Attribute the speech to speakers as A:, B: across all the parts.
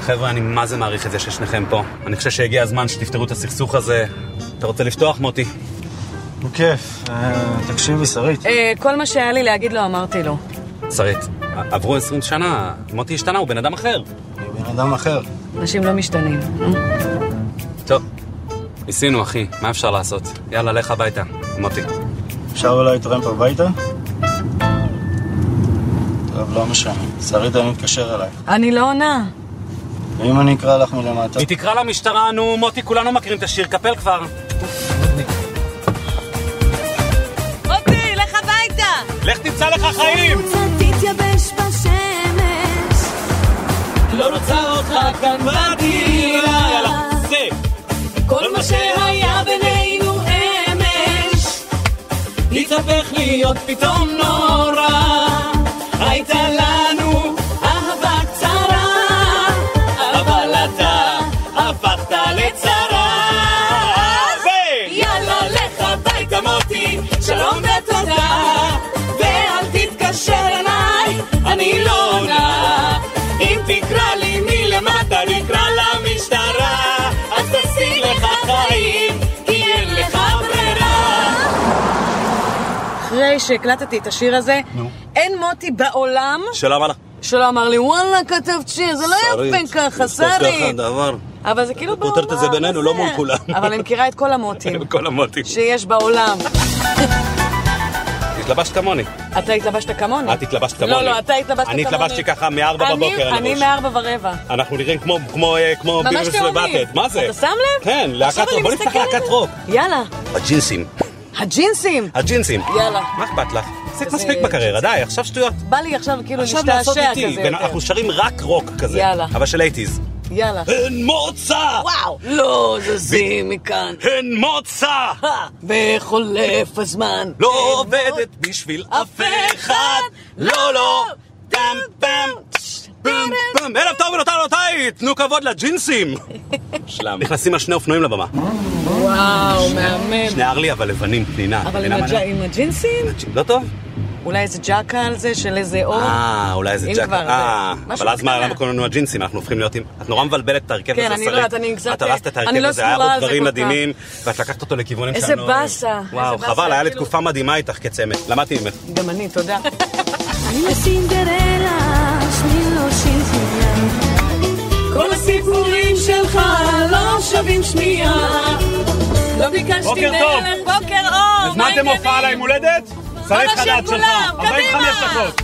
A: חבר'ה, אני מה זה מעריך את זה ששניכם פה. אני חושב שהגיע הזמן שתפתרו את הסכסוך הזה. אתה רוצה לפתוח, מוטי?
B: בכיף. אה, תקשיבי, שרית.
C: אה, כל מה שהיה לי להגיד לו אמרתי לו.
A: שרית, ע- עברו 20 שנה, מוטי השתנה, הוא בן אדם אחר.
B: אני בן אדם אחר.
C: אנשים לא משתנים.
A: טוב, ניסינו, אחי, מה אפשר לעשות? יאללה, לך הביתה, מוטי.
B: אפשר אולי טרמפ הביתה? טוב, לא משנה. שרית, אני מתקשר אלייך.
C: אני לא עונה.
B: ואם אני אקרא לך מלמטה?
A: היא תקרא למשטרה, נו, מוטי, כולנו מכירים את השיר, קפל כבר.
C: מוטי, לך הביתה!
A: לך תמצא לך חיים!
D: אוקיי, קצת תתייבש בשמש,
A: לא רוצה אותך כאן בדירה. יאללה, זה.
D: כל מה שהיה בינינו אמש,
A: התהפך להיות פתאום נורא.
D: הייתה לנו אהבה קצרה, אבל אתה הפכת לצרה. יאללה, לך הביתה מוטי, שלום ותודה, ואל תתקשר אליי, אני לא עונה. אם תקרא לי מלמטה, נקרא למשטרה, אז תשיג לך חיים, כי אין לך ברירה.
C: אחרי שהקלטתי את השיר הזה, אין מוטי בעולם
A: שלום, הלאה.
C: שלא אמר לי, וואלה, כתבת שיר, זה לא יפה ככה, שרי.
A: דבר.
C: אבל זה כאילו בעולם.
A: פותרת את זה בינינו, לא
C: זה.
A: מול כולם.
C: אבל אני מכירה את כל המוטים
A: כל המוטי.
C: שיש בעולם.
A: התלבשת כמוני.
C: אתה התלבשת כמוני.
A: את אה, התלבשת כמוני.
C: לא, לא, אתה התלבשת
A: אני
C: כמוני.
A: התלבשתי ככה מארבע
C: אני-
A: בבוקר על
C: אני
A: הראש.
C: מארבע ורבע.
A: אנחנו נראים כמו, כמו, אה, כמו
C: ממש
A: ביברס
C: תאומים.
A: ובאטד. מה זה?
C: אתה שם לב?
A: כן,
C: עכשיו
A: להקת
C: אני
A: רוק. בוא נפתח
C: מסתכלת.
A: להקת רוק.
C: יאללה,
A: הג'ינסים.
C: הג'ינסים.
A: הג'ינסים.
C: יאללה.
A: מה אכפת לך? עשית
C: איזה-
A: מספיק בקריירה, די, עכשיו שטויות.
C: בא לי עכשיו כאילו
A: עכשיו לעשות
C: להשתעשע
A: איתי.
C: כזה
A: בין-
C: יותר.
A: אנחנו שרים רק רוק כזה.
C: יאללה.
A: אבל של אייטיז.
C: יאללה.
A: אין מוצא!
C: וואו. לא זזים מכאן.
A: אין מוצא!
C: אה, וחולף הזמן.
A: לא עובדת בשביל אף אחד! לא, לא! טאם פאם! פאם פאם! ערב טוב ונותן אותי! תנו כבוד לג'ינסים! שלם. נכנסים השני אופנועים לבמה.
C: וואו, מהמם.
A: שני ארלי אבל לבנים, פנינה.
C: אבל עם
A: פנינה
C: הג'-
A: מלאה.
C: עם הג'ינסים?
A: לא טוב?
C: אולי איזה ג'קה על זה של איזה אור?
A: אה, אולי איזה
C: אם
A: ג'קט.
C: כבר,
A: אה,
C: זה- משהו
A: אבל אז מה,
C: בקטנה.
A: למה קוראים לנו הג'ינסים? אנחנו הופכים להיות עם... את נורא מבלבלת את ההרכב הזה,
C: כן,
A: שרית.
C: אני לא יודעת, אני קצת-
A: את הרסת את
C: אני
A: ההרכב
C: לא
A: הזה, היה
C: סגורה
A: פה
C: על זה
A: דברים
C: כל כך.
A: מדהימים, ואת לקחת אותו לכיוונים
C: איזה
A: שאני לא אוהב.
C: באסה,
A: וואו,
C: איזה באסה,
A: חבל, היה לי
C: כאילו-
A: תקופה מדהימה איתך כצמד. למדתי ממך.
C: גם אני, תודה.
D: אני לא סינדרלה, שמי לא שינשיניה. כל הסיפורים שלך לא שווים שנייה. לא ביקשתי
A: בוקר טוב.
D: דרך.
C: בוקר אור, מה
A: הזמנתם
C: העניינים?
A: הופעה על היום הולדת? שרית
C: השם
A: חדד שלך,
C: כולם,
A: 45
C: קדימה.
A: דקות.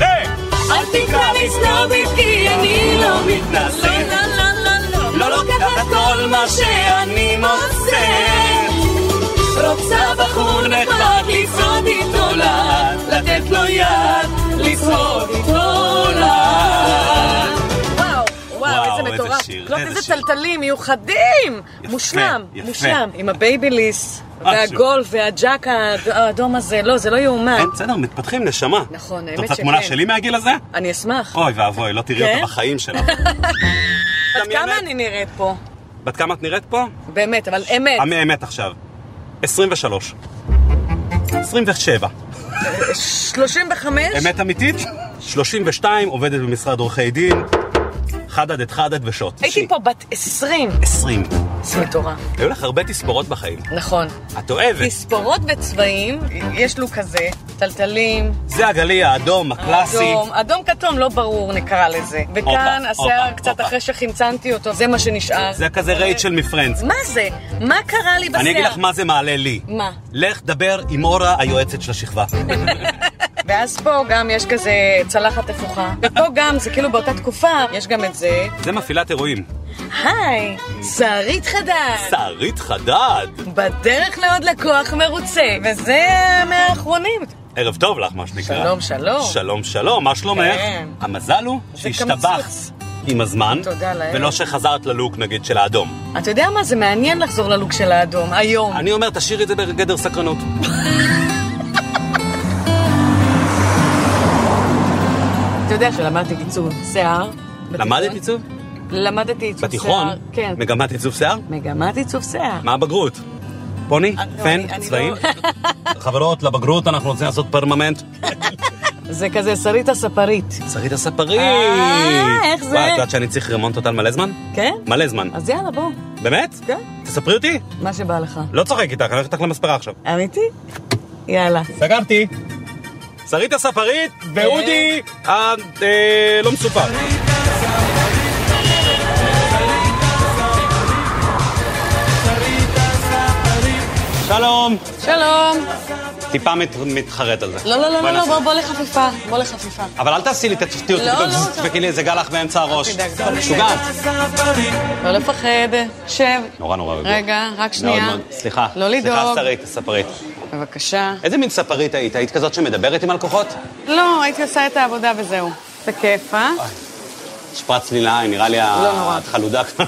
A: היי!
D: אל תקרא לי סנובית כי אני לא מתנשאת.
A: מתנשאת.
D: לא, לא, לא, לא. לא לוקחת כל מה שאני מוצאת. רוצה בחור נחמד לצעוד איתו לאט, לתת לו יד, לצעוד איתו לאט.
C: וואו, וואו,
A: וואו,
C: איזה
A: איזה
C: מטורף.
A: שיר,
C: קלוט,
A: איזה
C: איזה
A: שיר.
C: טלטלים מיוחדים!
A: יפה,
C: מושלם,
A: יפה.
C: מושלם. עם הבייביליס,
D: אה,
C: והגולף, והג'אק האד- האדום הזה, לא, זה לא יאומן.
A: אין, כן, בסדר, מתפתחים, נשמה.
C: נכון,
A: את
C: האמת
A: רוצה
C: שכן.
A: תמונה שלי מהגיל הזה?
C: אני אשמח.
A: אוי ואבוי, לא תראי
C: כן?
A: אותה בחיים שלך.
C: בת
A: מדמיינת?
C: כמה אני נראית פה?
A: בת כמה את נראית פה?
C: באמת, אבל אמת.
A: אמת. אמת עכשיו. 23. 27.
C: 35?
A: אמת אמיתית? 32, עובדת במשרד עורכי דין. חדד את חדד ושוט.
C: הייתי פה בת 20.
A: 20.
C: זה מטורף.
A: היו לך הרבה תספורות בחיים.
C: נכון.
A: את אוהבת.
C: תספורות וצבעים, יש לו כזה, טלטלים,
A: זה הגלי האדום, הקלאסי.
C: אדום, אדום כתום, לא ברור נקרא לזה. וכאן
A: הופה,
C: השיער
A: הופה,
C: קצת
A: הופה.
C: אחרי שחמצנתי אותו, זה מה שנשאר.
A: זה כזה רייצ'ל מפרנדס.
C: מה זה? מה קרה לי בשיער?
A: אני אגיד לך מה זה מעלה לי.
C: מה?
A: לך דבר עם אורה היועצת של השכבה.
C: ואז פה גם יש כזה צלחת הפוכה. ופה גם, זה כאילו באותה תקופה, יש גם את זה.
A: זה מפעילת אירועים.
C: היי, שערית חדש.
A: שרית חדד.
C: בדרך לעוד לקוח מרוצה. וזה מהאחרונים.
A: ערב טוב לך, מה שנקרא.
C: שלום, שלום.
A: שלום, שלום, מה שלומך?
C: כן.
A: המזל הוא שהשתבחת
C: כמצוץ.
A: עם הזמן,
C: תודה לאל.
A: ולא שחזרת ללוק, נגיד, של האדום.
C: אתה יודע מה? זה מעניין לחזור ללוק של האדום, היום.
A: אני אומר, תשאירי את זה בגדר סקרנות.
C: אתה יודע שלמדתי עיצוב שיער. בתיכון.
A: למדת עיצוב?
C: למדתי עיצוב
A: בתיכון?
C: שיער. כן.
A: מגמת עיצוב שיער?
C: מגמת עיצוב שיער.
A: מה הבגרות? פוני?
C: לא, אני-
A: פן?
C: אני
A: צבעים?
C: לא-
A: חברות, לבגרות אנחנו רוצים לעשות פרממנט.
C: זה כזה שרית הספרית.
A: שרית הספרית!
C: אה, איך זה?
A: וואי, את יודעת שאני צריך רמונט אותה מלא זמן?
C: כן?
A: מלא זמן.
C: אז יאללה, בוא.
A: באמת?
C: כן.
A: תספרי אותי?
C: מה שבא לך.
A: לא צוחק איתך, אני הולך איתך למספרה עכשיו.
C: אמיתי? יאללה.
A: סגרתי. שרית הספרית ואודי ה- אה, לא מסופר. שלום.
C: שלום.
A: טיפה מת- מתחרט על זה.
C: לא, לא, לא,
A: בואי
C: לא, לא,
A: נעשה.
C: בוא, בוא לחפיפה. בוא לחפיפה.
A: אבל אל תעשי לי את התפתיעות,
C: לא, לא, לא.
A: תדפקי לי איזה גל לך באמצע הראש.
C: תדאג,
A: את משוגעת.
C: לא לפחד. שב.
A: נורא נורא רגוע.
C: רגע, רק שנייה.
A: מאוד מאוד, סליחה.
C: לא
A: סליחה,
C: לדאוג.
A: שרית, ספרית.
C: בבקשה.
A: איזה מין ספרית היית? היית כזאת שמדברת עם הלקוחות?
C: לא, הייתי עושה את העבודה וזהו. זה כיף, אה?
A: שפרץ לי לעין, נראה לי
C: לא נורא.
A: את חלודה כבר.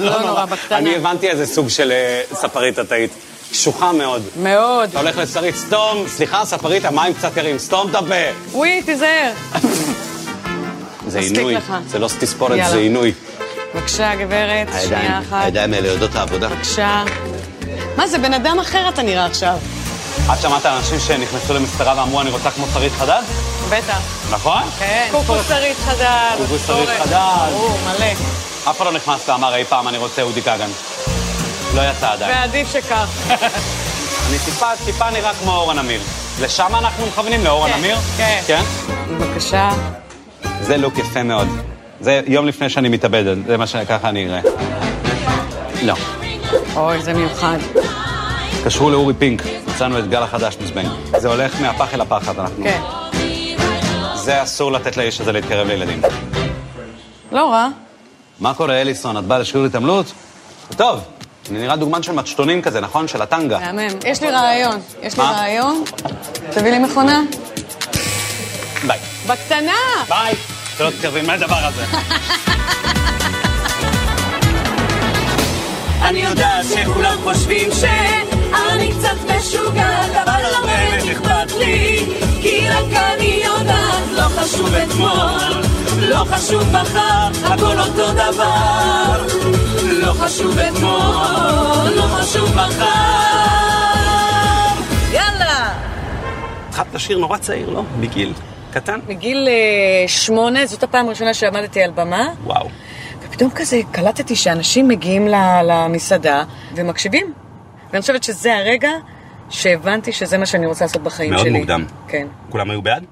C: לא נורא, בקטנה.
A: אני הבנתי איזה סוג של אה, ספרית את היית. קשוחה מאוד.
C: מאוד.
A: אתה הולך לשרית, סתום, סליחה, ספרית, המים קצת קרים, סתום את הפה.
C: וואי, תיזהר.
A: זה
C: מספיק
A: עינוי,
C: לך.
A: זה לא תספורת,
C: יאללה.
A: זה עינוי.
C: בבקשה, גברת, שנייה אחת.
A: האלה יודעות את העבודה.
C: בבקשה. מה זה, בן אדם אחר אתה נראה עכשיו.
A: את שמעת על אנשים שנכנסו למספרה ואמרו, אני רוצה כמו שרית חדד?
C: בטח.
A: נכון?
C: כן. קוקוסרית חדד.
A: קוקו שרית
C: אורן.
A: חדד.
C: ברור, מלא.
A: אף אחד לא נכנס ואמר אי פעם, אני רוצה אודי כגן. לא יצא עדיין.
C: ועדיף שכך.
A: אני טיפה, טיפה נראה כמו אורן עמיר. לשם אנחנו מכוונים, לאורן
C: כן,
A: עמיר?
C: כן. בבקשה.
A: זה לוק יפה מאוד. זה יום לפני שאני מתאבד, זה מה ש... ככה אני אראה. לא.
C: אוי, זה מיוחד.
A: התקשרו לאורי פינק, מצאנו את גל החדש מזבנג. זה הולך מהפח אל הפחד, אנחנו...
C: כן.
A: זה אסור לתת לאיש הזה להתקרב לילדים.
C: לא רע.
A: מה קורה, אליסון? את באה לשיעור התעמלות? טוב, אני נראה דוגמן של מצ'טונים כזה, נכון? של הטנגה.
C: מהמם. יש לי רעיון. יש לי
A: מה?
C: רעיון. תביא לי מכונה.
A: ביי.
C: בקטנה!
A: ביי. לא תתקרבי, מה הדבר הזה?
D: אני יודעת שכולם חושבים שאני קצת משוגעת, אבל לא באמת אכפת לי, כי רק אני יודעת, לא חשוב אתמול, לא חשוב מחר, הכל אותו דבר. לא חשוב אתמול, לא חשוב מחר.
C: יאללה!
A: התחלת לשיר נורא צעיר, לא? בגיל קטן?
C: מגיל אה, שמונה, זאת הפעם הראשונה שעמדתי על במה,
A: וואו.
C: ופתאום כזה קלטתי שאנשים מגיעים ל- למסעדה ומקשיבים. ואני חושבת שזה הרגע שהבנתי שזה מה שאני רוצה לעשות בחיים
A: מאוד
C: שלי.
A: מוקדם.
C: כן.
A: כולם היו בעד?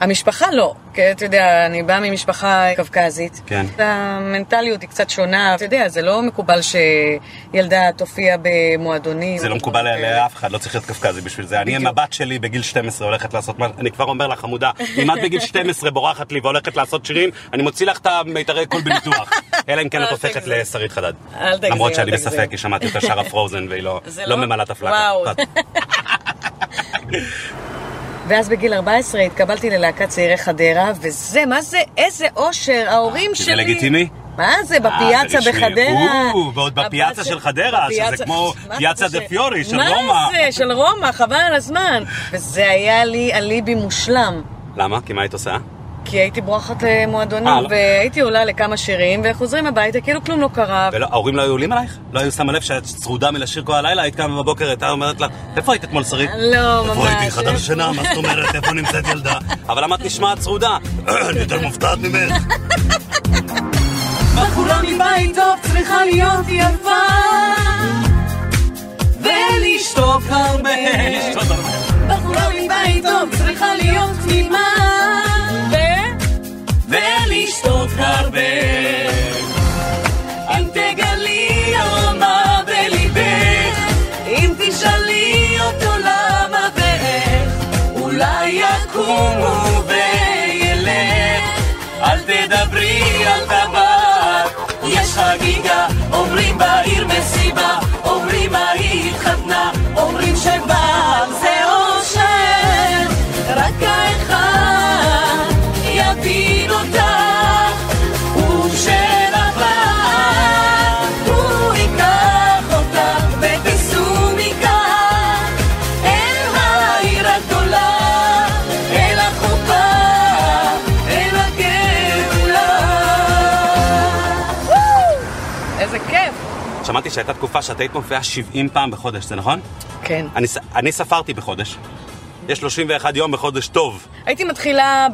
C: המשפחה לא, כי אתה יודע, אני באה ממשפחה קווקזית.
A: כן.
C: המנטליות היא קצת שונה, אתה יודע, זה לא מקובל שילדה תופיע במועדונים.
A: זה לא מקובל על אף אחד, לא צריך להיות קפקזי בשביל זה. אני, עם הבת שלי בגיל 12 הולכת לעשות מה... אני כבר אומר לך, חמודה, אם את בגיל 12 בורחת לי והולכת לעשות שירים, אני מוציא לך את המיתרי קול בניתוח. אלא אם כן
C: אל
A: את הופכת
C: תגזים.
A: לשרית חדד.
C: אל תגזים,
A: למרות
C: אל
A: שאני
C: תגזים.
A: בספק, כי שמעתי אותה שרה פרוזן והיא לא
C: זה
A: לא
C: לא?
A: ממלאת הפלקה.
C: וואו. ואז בגיל 14 התקבלתי ללהקת צעירי חדרה, וזה, מה זה, איזה אושר, ההורים
A: שזה
C: שלי...
A: אה, לגיטימי?
C: מה זה,
A: אה, זה
C: בפיאצה
A: רשמי.
C: בחדרה.
A: או, ועוד
C: הבת
A: בפיאצה
C: של-
A: של חדרה, שזה
C: בפיאצה-
A: כמו
C: מה זה
A: פיאצה
C: קשה?
A: דה פיורי של רומא.
C: מה זה, של רומא, חבל על הזמן. וזה היה לי אליבי מושלם.
A: למה? כי מה היית עושה?
C: כי הייתי בורחת אה,
A: אה,
C: מועדונים,
A: לא.
C: והייתי עולה לכמה שירים, וחוזרים הביתה, כאילו כלום לא קרה.
A: וההורים לא היו עולים עלייך? לא היו שמה לב שאת צרודה מלשיר כל הלילה, היית קמה בבוקר, הייתה אומרת לה, איפה היית אתמול שרית?
C: לא, ממש.
A: איפה הייתי? חדר שינה, מה זאת אומרת? איפה נמצאת ילדה? אבל למה את נשמעת צרודה? אני יותר מופתעת ממך.
D: בחורה מבית טוב צריכה להיות יפה ולשתוק הרבה בחורה מבית טוב צריכה להיות תמימה ולשתוק הרבה אם תגלי אהבה בליבך אם תשאלי אותו למה ואיך אולי יקום הוא וילך אל תדברי על טבק יש חגיגה אומרים בעיר מסיבה אומרים ההיא התחתנה אומרים שבעל זה אושר רק האחד יבין אותך הוא שלבן הוא ייקח אותך ותיסעו מכאן אל העיר הגדולה אל החופה אל הגאולה
C: איזה כיף.
A: שמעתי שהייתה תקופה שאת היית מופיעה 70 פעם בחודש, זה נכון?
C: כן.
A: אני ס- אני ספרתי בחודש.
D: יש 31 יום בחודש טוב.
C: הייתי מתחילה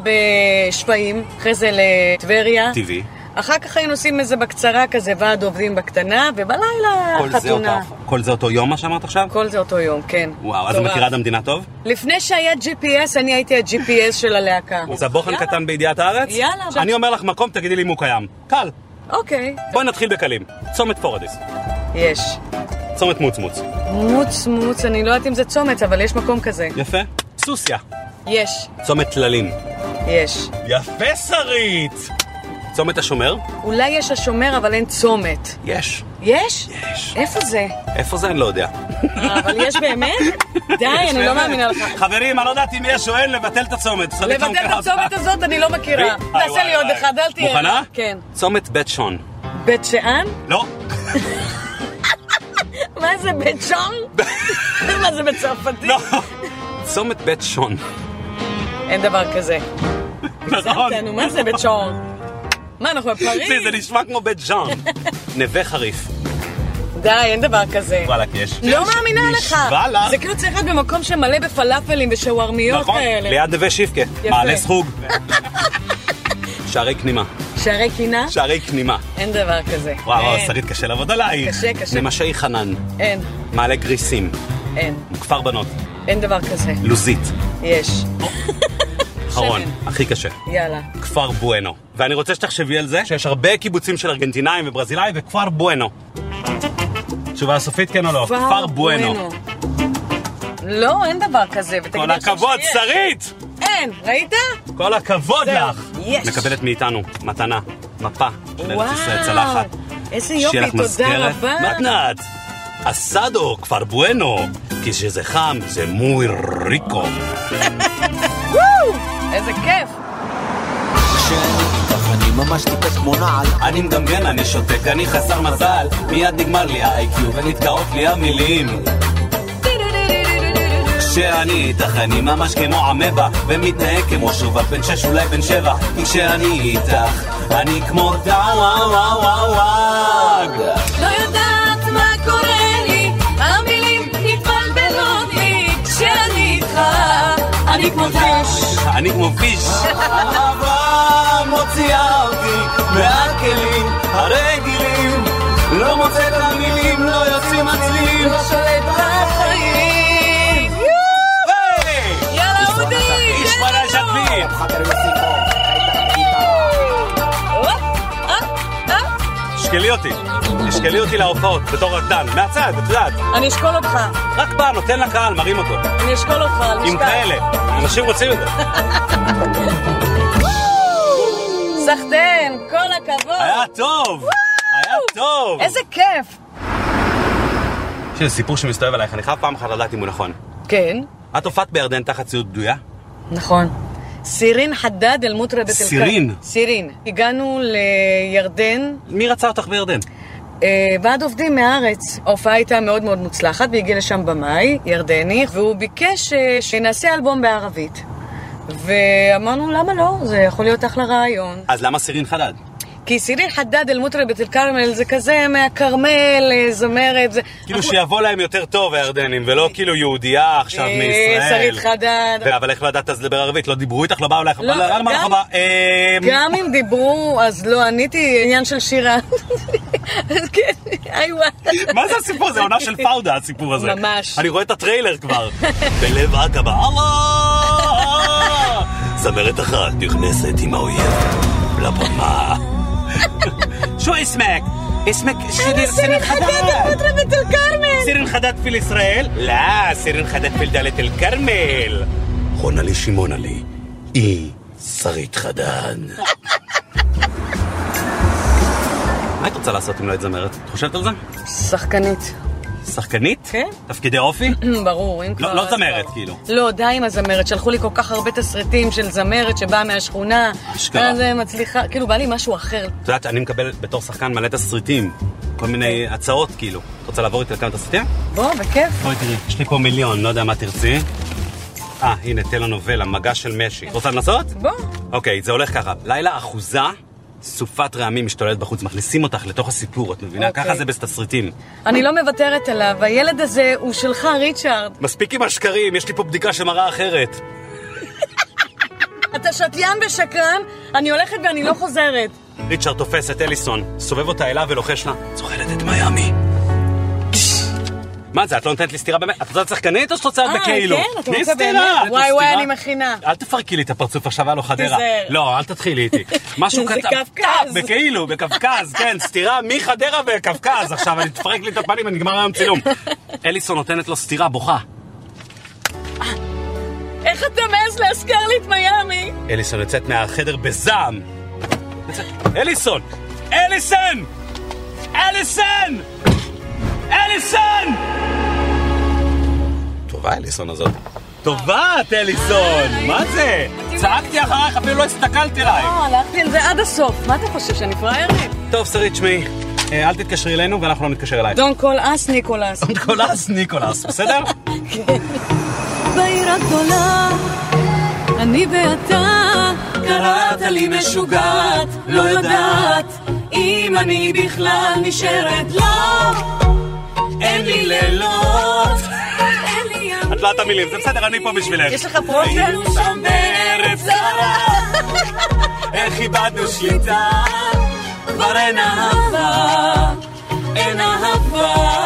C: בשפיים, אחרי זה לטבריה.
D: טבעי.
C: אחר כך היינו עושים איזה בקצרה כזה, ועד עובדים בקטנה, ובלילה
D: כל זה, אותו,
C: חתונה.
D: כל זה אותו יום מה שאמרת עכשיו?
C: כל אוקיי. זה אותו יום, כן.
D: וואו, אז את
C: מטורף.
D: מכירה את המדינה טוב?
C: לפני שהיה GPS, אני הייתי ה-GPS של הלהקה.
D: רוצה בוחן
C: יאללה.
D: קטן בידיעת הארץ?
C: יאללה.
D: אני אומר לך מקום, תגידי לי אם הוא קיים. קל.
C: אוקיי,
D: בואי נתחיל בקלים. צומת פורדיס.
C: יש.
D: צומת מוצמוץ.
C: מוץ מוץ, אני לא יודעת אם זה צומת, אבל יש מקום כזה.
D: יפה. סוסיא.
C: יש,
D: צומת טללים.
C: יש.
D: יפה שרית! צומת השומר?
C: אולי יש השומר, אבל אין צומת.
D: יש.
C: יש?
D: יש.
C: איפה זה?
D: איפה זה? אני לא יודע.
C: אה, אבל יש באמת? די, אני לא מאמינה לך.
D: חברים, אני לא יודעת אם יש או אין, לבטל את הצומת. צריך
C: לבטל
D: לתרום
C: את
D: ככה.
C: הצומת הזאת אני לא מכירה.
D: וואי,
C: תעשה
D: אה, וואי,
C: לי עוד
D: וואי.
C: אחד, אל תהיה...
D: מוכנה?
C: כן.
D: צומת בית שון.
C: בית שאן?
D: לא.
C: מה זה בית שון? מה זה בצרפתית?
D: לא. צומת בית שון.
C: אין דבר כזה.
D: נכון.
C: הגזמתנו, כן, מה זה בית שון? מה, אנחנו
D: תראי,
C: בפריז?
D: זה נשמע כמו בית ז'אן. נווה חריף.
C: די, אין דבר כזה.
D: וואלכ, יש.
C: לא מאמינה לך.
D: נשבע לך.
C: זה כאילו צריך להיות במקום שמלא בפלאפלים ושווארמיות
D: נכון,
C: כאלה.
D: ליד נווה שיפקה. מעלה סחוג. שערי כנימה.
C: שערי קינה?
D: שערי כנימה.
C: אין דבר כזה.
D: וואו, וואו,
C: אין,
D: שרית, קשה לעבוד עלייך.
C: כן. קשה, קשה.
D: נמשי חנן.
C: אין,
D: מעלה גריסים.
C: אין.
D: כפר בנות.
C: אין דבר כזה.
D: לוזית.
C: יש.
D: לא. אחרון.
C: שמן.
D: הכי קשה.
C: יאללה.
D: כפר בואנו. ואני רוצה שתחשבי על זה שיש הרבה קיבוצים של ארגנטינאים וברזילאים וכפר בואנו. תשובה סופית כן או לא? כפר בואנו.
C: לא, אין דבר כזה. ותגידי
D: כל
C: עכשיו
D: הכבוד,
C: שיש.
D: שרית!
C: אין, ראית?
D: כל הכבוד
C: זהו,
D: לך!
C: יש.
D: מקבלת מאיתנו מתנה, מפה של ארץ ישראל צלחת.
C: איזה יופי, תודה רבה.
D: מתנת! אסדו, כפר בואנו, כי שזה חם זה מוי ריקו.
C: וואו, איזה כיף.
E: כשאני איתך אני ממש טיפש כמו נעל
D: אני מדמיין, אני שותק, אני חסר מזל, מיד נגמר לי ה-IQ ונתקעות לי המילים. כשאני איתך אני ממש כמו עמבה ומתנהג כמו שובה בן שש אולי בן שבע כי כשאני איתך אני כמו דאג
F: לא יודעת מה קורה לי, המילים מתבלבלות לי, כשאני איתך, אני כמו דש.
D: אני כמו פיש אהבה מוציאה אותי מהכלים הרגילים לא מוצא את המילים לא יוצאים הצלילים
F: לא שולט בחיים. יאללה אודי!
D: איש
F: תן
D: מלא
F: לנו.
D: שתפים
F: הופ, הופ, הופ.
D: שקלי אותי, שקלי אותי להופעות בתור רקדן מהצד, את יודעת
C: אני אשקול אותך.
D: רק בא, נותן לקהל, מרים אותו
C: אני אשקול אותך, אל
D: עם
C: תשכח.
D: כאלה, אנשים רוצים את זה
C: סחטיין, כל הכבוד.
D: היה טוב! היה טוב!
C: איזה כיף.
D: יש איזה סיפור שמסתובב עלייך, אני חייב פעם אחת לדעת אם הוא נכון.
C: כן,
D: את הופעת בירדן תחת ציוד בדויה?
C: נכון. סירין חדד אל מוטרה בתל
D: סירין.
C: סירין. הגענו לירדן,
D: מי רצה אותך בירדן?
C: אה, ועד עובדים מהארץ. ההופעה הייתה מאוד מאוד מוצלחת, והגיע לשם במאי, ירדני, והוא ביקש אה, שנעשה אלבום בערבית. ואמרנו, למה לא? זה יכול להיות אחלה רעיון.
D: אז למה סירין חדד?
C: כי סירין חדד אל מוטרבת אל כרמל זה כזה מהכרמל, אה, זמרת, זה...
D: כאילו שיבוא להם יותר טוב הירדנים, ולא כאילו יהודייה עכשיו
C: אה,
D: מישראל.
C: שרית חדד.
D: ו- אבל איך לא ידעת אז לדבר ערבית? לא דיברו איתך? לא באו אלייך?
C: לא,
D: על מה
C: גם-
D: לך בא? אה,
C: גם אם דיברו, אז לא עניתי עניין של שירה. אז כן, איי וואי.
D: מה זה הסיפור הזה? עונה של פאודה הסיפור הזה.
C: ממש.
D: אני רואה את הטריילר כבר. בלב עקבה, אללה! זמרת אחת נכנסת עם האויב לבמה. שו איסמק? איסמק שלי סירין חדד.
C: מוטרבת אל כרמל.
D: סירין חדד פיל ישראל? לא, סירין חדד פיל דלית אל כרמל. חונה לי שמעונה לי. היא שרית חדד. מה היית רוצה לעשות אם לא היית זמרת? את חושבת על זה?
C: שחקנית.
D: שחקנית?
C: כן.
D: תפקידי אופי?
C: ברור, אם כבר...
D: לא
C: אז
D: זמרת,
C: כבר.
D: כאילו.
C: לא, די עם הזמרת. שלחו לי כל כך הרבה תסריטים של זמרת שבאה מהשכונה.
D: אשכרה.
C: אז אה, מצליחה, כאילו, בא לי משהו אחר.
D: את יודעת, אני מקבל בתור שחקן מלא תסריטים, כל מיני הצעות כאילו. את רוצה לעבור איתי על כמה תסריטים?
C: בוא, בכיף.
D: בואי תראי, יש לי פה מיליון, לא יודע מה תרצי. אה, הנה, טלנובלה, מגע של משי. רוצה לנסות?
C: בוא.
D: אוקיי, זה הולך ככה. לילה אחוזה
A: סופת רעמים משתוללת בחוץ, מכניסים אותך לתוך הסיפור, את מבינה?
C: אוקיי.
A: ככה זה בתסריטים.
C: אני לא מוותרת עליו, הילד הזה הוא שלך, ריצ'ארד.
A: מספיק עם השקרים, יש לי פה בדיקה שמראה אחרת.
C: אתה שתיין ושקרן, אני הולכת ואני לא חוזרת.
A: ריצ'רד תופס את אליסון, סובב אותה אליו ולוחש לה, זוכרת את מיאמי. מה זה, את לא נותנת לי סטירה באמת? את רוצה שחקנית או שאת רוצה
C: אה,
A: בכאילו?
C: כן? אתה
A: תני
C: רוצה
A: סטירה.
C: באמת?
A: את רוצה
C: וואי, וואי,
A: סטירה?
C: אני מכינה.
A: אל תפרקי לי את הפרצוף עכשיו, הלו חדרה.
C: תיזהר.
A: לא, אל תתחילי איתי. משהו
C: זה
A: קטן.
C: קווקז.
A: טאפ, בכאילו, בקווקז, כן, סטירה מחדרה וקווקז. עכשיו, אני תפרק לי את הפנים ונגמר היום צילום. אליסון נותנת לו סטירה, בוכה.
C: איך אתה מעז להזכיר לי את מיאמי?
A: אליסון יוצאת מהחדר בזעם. אליסון! אליסון! אליסון! אליסון! טובה אליסון הזאת. טובה את אליסון! מה זה? צעקתי אחרייך, אפילו לא הסתכלתי עלייך.
C: אה, הלכתי על זה עד הסוף. מה אתה חושב, שאני פראיירית?
A: טוב, שרית, שמי, אה, אל תתקשרי אלינו ואנחנו לא נתקשר אלייך.
C: Don't call us, ניקולס.
A: ניקולס, ניקולס, בסדר?
C: בעיר הגדולה, אני ואתה, קראת לי משוגעת, לא יודעת אם אני בכלל נשארת. לא,
A: אין לי לילות. את לא את המילים, זה בסדר, אני פה בשבילך.
C: יש לך פרופטר?
A: היינו שם בארץ זרה, איך איבדנו שליטה, כבר אין אהבה, אין אהבה.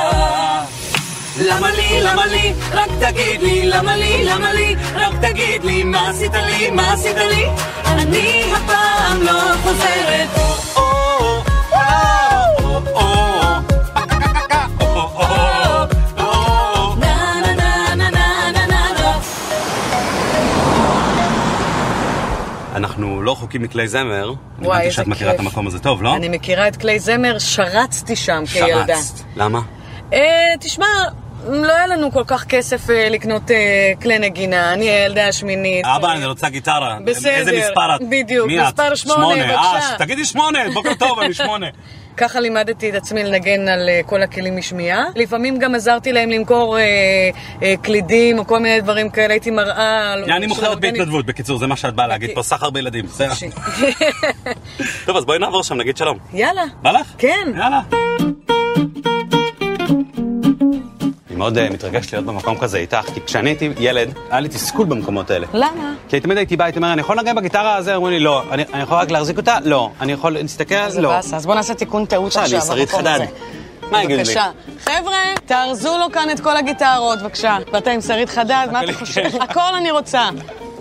A: למה לי, למה לי, רק תגיד לי, למה לי, למה לי, רק תגיד לי, מה עשית לי, מה עשית לי, אני הפעם לא חוזרת. או, או, או, או, או, או, או, או, או.
C: נה נה נה נה נה נה נה נה.
A: אנחנו לא חוקים מכלי זמר.
C: וואי,
A: הבנתי
C: איזה
A: שאת מכירה את
C: כיף.
A: המקום הזה טוב, לא?
C: אני מכירה את כלי זמר, שרצתי שם כילדה.
A: שרצת. למה?
C: אה, תשמע, לא היה לנו כל כך כסף אה, לקנות אה, כלי נגינה, אני הילדה השמינית.
A: אבא, אני לא- רוצה גיטרה.
C: בסדר.
A: איזה מספר את?
C: בדיוק,
A: מי את?
C: מספר שמונה, בבקשה.
A: אה, תגידי שמונה, בוקר טוב, אני שמונה.
C: ככה לימדתי את עצמי לנגן על אה, כל הכלים משמיעה. לפעמים גם עזרתי להם למכור אה, אה, קלידים או כל מיני דברים כאלה, הייתי מראה. על-
A: אני
C: של
A: מוכרת
C: האורגנית.
A: בהתנדבות, בקיצור, זה מה שאת באה להגיד פה, סחר בילדים. בסדר.
C: לא, אוקיי. ש-
A: טוב, אז בואי נעבור שם, נגיד שלום.
C: יאללה.
A: בא לך?
C: כן.
A: יאללה. אני מאוד אה, מתרגש להיות במקום כזה איתך, כי כשאני הייתי ילד, היה לי תסכול במקומות האלה.
C: למה?
A: כי תמיד הייתי בא, הייתי אומר, אני יכול לנגן בגיטרה הזה? אומרים לי, לא. אני אני יכול רק להחזיק אותה? לא. אני יכול להסתכל על זה?
C: זה
A: לא.
C: באסה, אז בוא נעשה תיקון טעות
A: עכשיו,
C: עכשיו.
A: אני שרית
C: במקום
A: חדד.
C: הזה.
A: מה יגידו לי?
C: בבקשה. חבר'ה, תארזו לו כאן את כל הגיטרות, בבקשה. ואתה עם שרית חדד, מה אתה
A: הכל-
C: חושב?
A: כן.
C: הכל אני רוצה.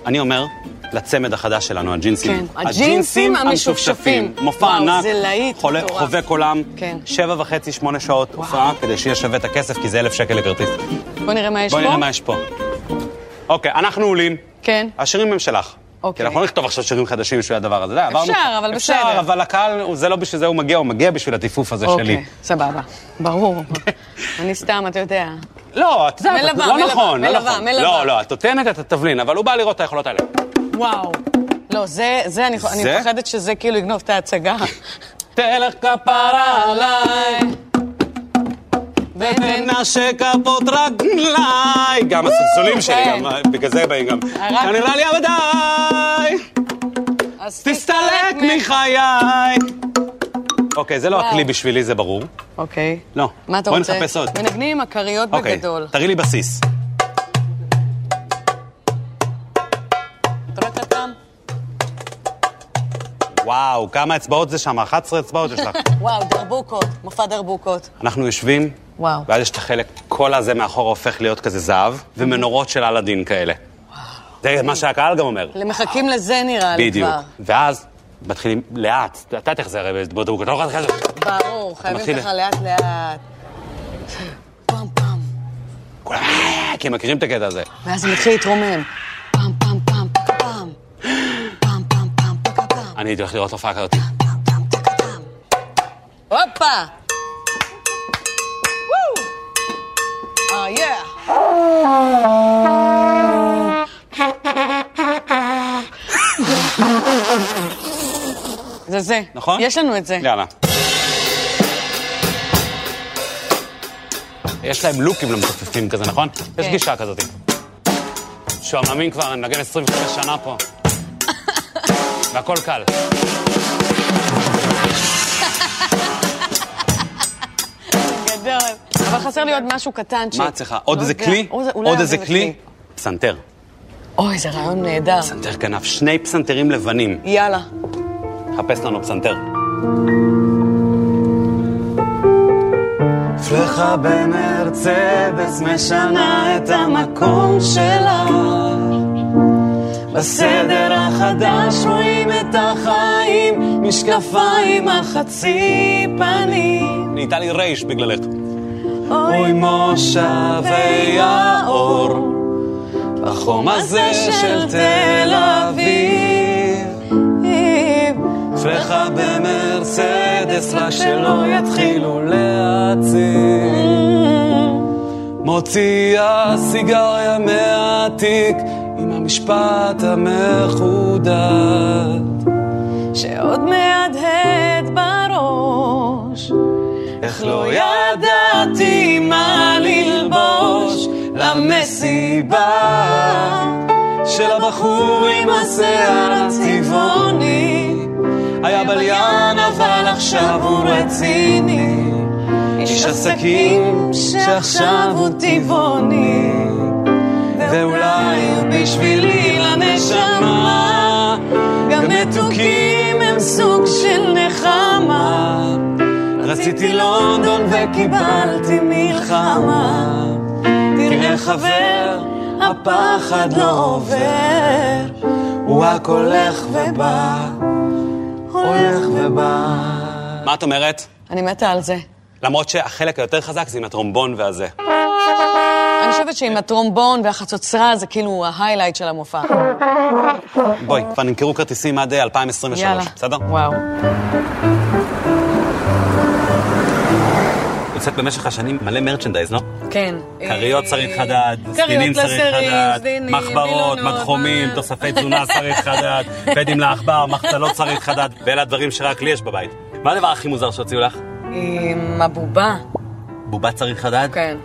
A: אני אומר, לצמד החדש שלנו, הג'ינסים.
C: כן, הג'ינסים המשופשפים.
A: מופע
C: וואו,
A: ענק.
C: זה להיט
A: חולה-
C: מטורף.
A: חובק עולם.
C: כן.
A: שבע וחצי, שמונה שעות הופעה, כדי שיהיה שווה את הכסף, כי זה אלף שקל לכרטיס.
C: בוא נראה מה יש פה.
A: בואי נראה מה יש פה. אוקיי, אנחנו עולים.
C: כן.
A: השירים הם שלך.
C: אוקיי.
A: כי אנחנו לא נכתוב עכשיו שירים חדשים בשביל הדבר הזה. די, עברנו-
C: אפשר, אבל
A: אפשר,
C: בסדר.
A: אבל הקהל, הוא- זה לא בשביל זה הוא מגיע, הוא מגיע בשביל הטיפוף הזה שלי.
C: אוקיי, סבבה. ברור. אני סתם, אתה יודע.
A: לא, את יודעת,
C: מלווה,
A: לא
C: מלווה,
A: נכון, לא
C: מלווה,
A: נכון.
C: מלווה.
A: לא, לא, את נותנת את התבלין, אבל הוא בא לראות את היכולות האלה.
C: וואו. לא, זה, זה, אני אני
A: זה?
C: מפחדת שזה כאילו יגנוב את ההצגה.
A: תלך כפרה עליי.
C: ותן-
A: ונשק כפות כן. רגליי. גם הסלסולים שלי,
C: כן.
A: גם, בגלל זה באים גם.
C: רק-
A: נראה לי עבדיי,
C: אז
A: תסתלק מחיי. אוקיי, זה לא
C: וואו.
A: הכלי בשבילי, זה ברור.
C: אוקיי.
A: לא.
C: מה אתה
A: בואי
C: רוצה?
A: נחפש עוד.
C: מנגנים עם הכריות
A: אוקיי,
C: בגדול.
A: תראי לי בסיס.
C: טרקטם.
A: וואו, כמה אצבעות זה שם? 11 אצבעות יש לך.
C: וואו, דרבוקות, מופע דרבוקות.
A: אנחנו יושבים,
C: וואו.
A: ואז יש את החלק, כל הזה מאחורה הופך להיות כזה זהב, ומנורות של אלאדין כאלה. זה מה שהקהל גם אומר.
C: מחכים לזה נראה לי
A: בדיוק.
C: כבר.
A: ואז מתחילים לאט, אתה תחזר הרי בדוק, אתה לא יכול להתחיל...
C: ברור,
A: מתחיל-
C: חייבים ככה לאט לאט. פעם פעם.
A: כולם, "אה", כי הם מכירים את הקטע הזה.
C: ואז הם מתחיל להתרומם. פעם פעם פעם פקה פעם. פעם פעם פעם פקה פעם.
A: אני הייתי הולך לראות הופעה כזאת.
C: פעם פעם פקה פעם. הופה! וואו! אה, יא! זה זה.
A: נכון?
C: יש לנו את זה.
A: יאללה. יש להם לוקים למתופפים כזה, נכון?
C: כן.
A: יש גישה כזאת. שועממים כבר, אני מנגן 25 שנה פה. והכל קל.
C: חסר לי עוד משהו קטנצ'יק.
A: מה את צריכה? עוד
C: לא
A: איזה
C: יודע.
A: כלי?
C: אולי
A: עוד איזה כלי? פסנתר.
C: אוי, זה רעיון נהדר.
A: פסנתר כנף. שני פסנתרים לבנים.
C: יאללה.
A: חפש לנו פסנתר. פלחה במרצדס משנה את המקום שלה בסדר החדש רואים את החיים משקפיים על חצי פנים נהייתה לי רייש בגללך אוי מושבי האור בחום הזה של תל אביב פרחה במרצדס, רק שלא יתחילו להציג. מוציאה סיגריה מהתיק עם המשפט המחודד.
C: שעוד מהדהד בראש.
A: איך לא ידעתי מה ללבוש למסיבה של הבחור עם השיער הצבעוני. היה בליין אבל עכשיו הוא רציני. איש עסקים שעכשיו הוא טבעוני. ואולי בשבילי לנשמה גם מתוקים הם סוג של נחמה. רציתי לונדון וקיבלתי מלחמה. תראה חבר, הפחד לא עובר. הוא רק הולך ובא, הולך ובא. מה את אומרת?
C: אני מתה על זה.
A: למרות שהחלק היותר חזק זה עם הטרומבון והזה.
C: אני חושבת שעם הטרומבון והחצוצרה זה כאילו ההיילייט של המופע.
A: בואי, כבר נמכרו כרטיסים עד אה, 2023, בסדר?
C: וואו.
A: יוצאת במשך השנים מלא מרצ'נדייז, לא?
C: כן.
A: כריות
C: אה,
A: צריך חדד, זקנים
C: כריות
A: צריך
C: לשרים,
A: חדד,
C: סדינים,
A: מחברות,
C: וילונות,
A: מדחומים,
C: מה-
A: תוספי תזונה צריך חדד, פדים לעכבר, מחצלות צריך חדד, ואלה הדברים שרק לי יש בבית. מה הדבר הכי מוזר שהוציאו לך?
C: עם הבובה.
A: בובה צריך חדד?
C: כן.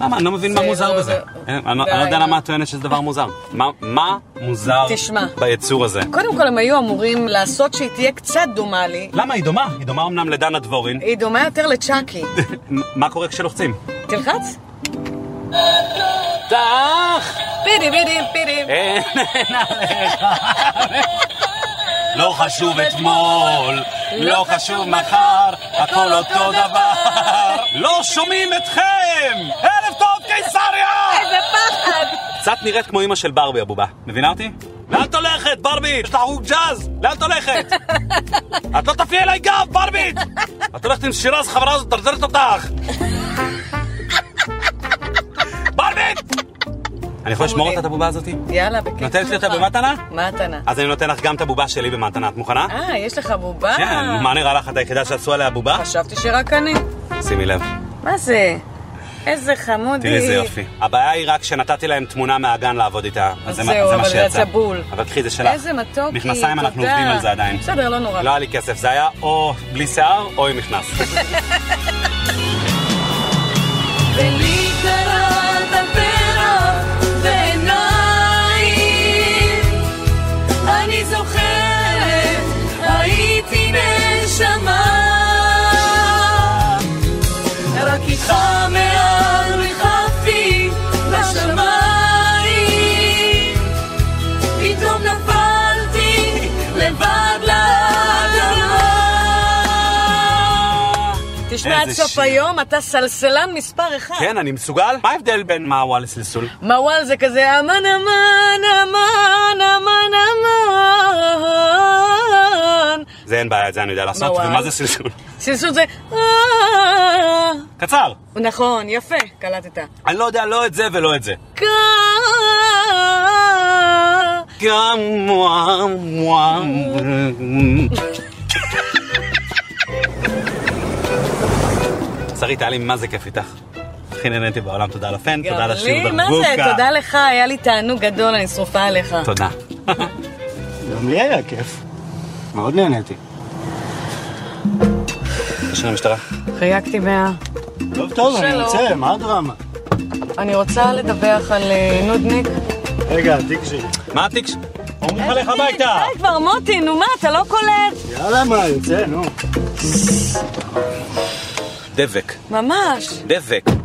A: למה? אני לא מבין מה
C: זה
A: מוזר
C: לא-
A: בזה.
C: זה-
A: אני לא- אני לא
C: די,
A: יודע
C: נו.
A: למה את טוענת שזה דבר מוזר. מה- מה מוזר
C: תשמע.
A: ביצור הזה?
C: קודם כל, הם היו אמורים לעשות שהיא תהיה קצת דומה לי.
A: למה? היא דומה. היא דומה אמנם לדנה דבורין.
C: היא דומה יותר לצ'אקי.
A: מ- מה קורה כשלוחצים?
C: תלחץ.
A: תח!
C: פידי פידי פידי.
A: אין, אין עליך. לא חשוב אתמול, לא חשוב מחר, הכל אותו דבר. לא שומעים אתכם! ערב טוב, קיסריה!
C: איזה פחד!
A: קצת נראית כמו אימא של ברבי הבובה, מבינה אותי? לאן את הולכת, ברבית? יש לך חוג ג'אז, לאן את הולכת? את לא תפני אליי גב, ברבית! את הולכת עם שירז, חברה הזאת, טרטרת אותך! ברבית! אני יכול לשמור אותה, את הבובה הזאתי?
C: יאללה, בכיף.
A: נותנת לי אותה
C: שלך.
A: במתנה?
C: מתנה.
A: אז אני נותן לך גם את הבובה שלי במתנה, את מוכנה?
C: אה, יש לך בובה?
A: כן, מה נראה לך את היחידה שעשו עליה בובה?
C: חשבתי שרק אני.
A: שימי לב,
C: מה זה? איזה חמודי.
A: תראי איזה יופי. הבעיה היא רק שנתתי להם תמונה מהגן לעבוד איתה, אז
C: אז
A: זה מה
C: זהו,
A: זה מה
C: אבל זה
A: שיצא.
C: הצבול.
A: אבל קחי, זה שלך.
C: איזה מתוקי,
A: מכנסיים, אנחנו
C: תודה.
A: עובדים על זה עדיין.
C: בסדר, לא נורא.
A: לא היה לי כסף, זה היה או בלי שיער או עם מכנס.
D: ולי קראת פרח ועיניים. אני זוכרת, הייתי נשמה. רק איתך מעל ריחפתי בשמיים. פתאום נפלתי לבד לאדמה.
C: תשמע, עד
A: איזה
C: סוף
A: שיר.
C: היום אתה סלסלן מספר אחד.
A: כן, אני מסוגל. מה ההבדל בין מעוול לסלסול?
C: מוואל זה כזה אמן אמן אמן אמן אמן.
A: זה אין בעיה, את זה אני יודע לעשות.
C: מעוול.
A: ומה זה סלסול?
C: סלסול זה אה.
A: קצר.
C: נכון, יפה, קלטת.
A: אני לא יודע לא את זה ולא את זה.
C: קה.
A: גם מואה מואה. שרית, היה לי מה זה כיף איתך. הכי נהניתי בעולם, תודה על הפן, תודה על השיר
C: לי, מה זה?
A: בבוקה.
C: תודה לך, היה לי תענוג גדול, אני שרופה עליך.
A: תודה.
B: גם לי היה כיף. מאוד נהניתי.
A: תשאיר למשטרה.
C: חייגתי מאה.
B: טוב, טוב, אני
C: שלום.
B: יוצא, מה הדרמה?
C: אני רוצה לדווח על אה, נודניק.
B: רגע, התיק שלי.
A: מה התיק? אומרים לך הביתה!
C: די כבר, מוטי, נו מה, אתה לא קולט?
B: יאללה, מה, יוצא, נו.
A: דבק,
C: ממש.
A: דבק.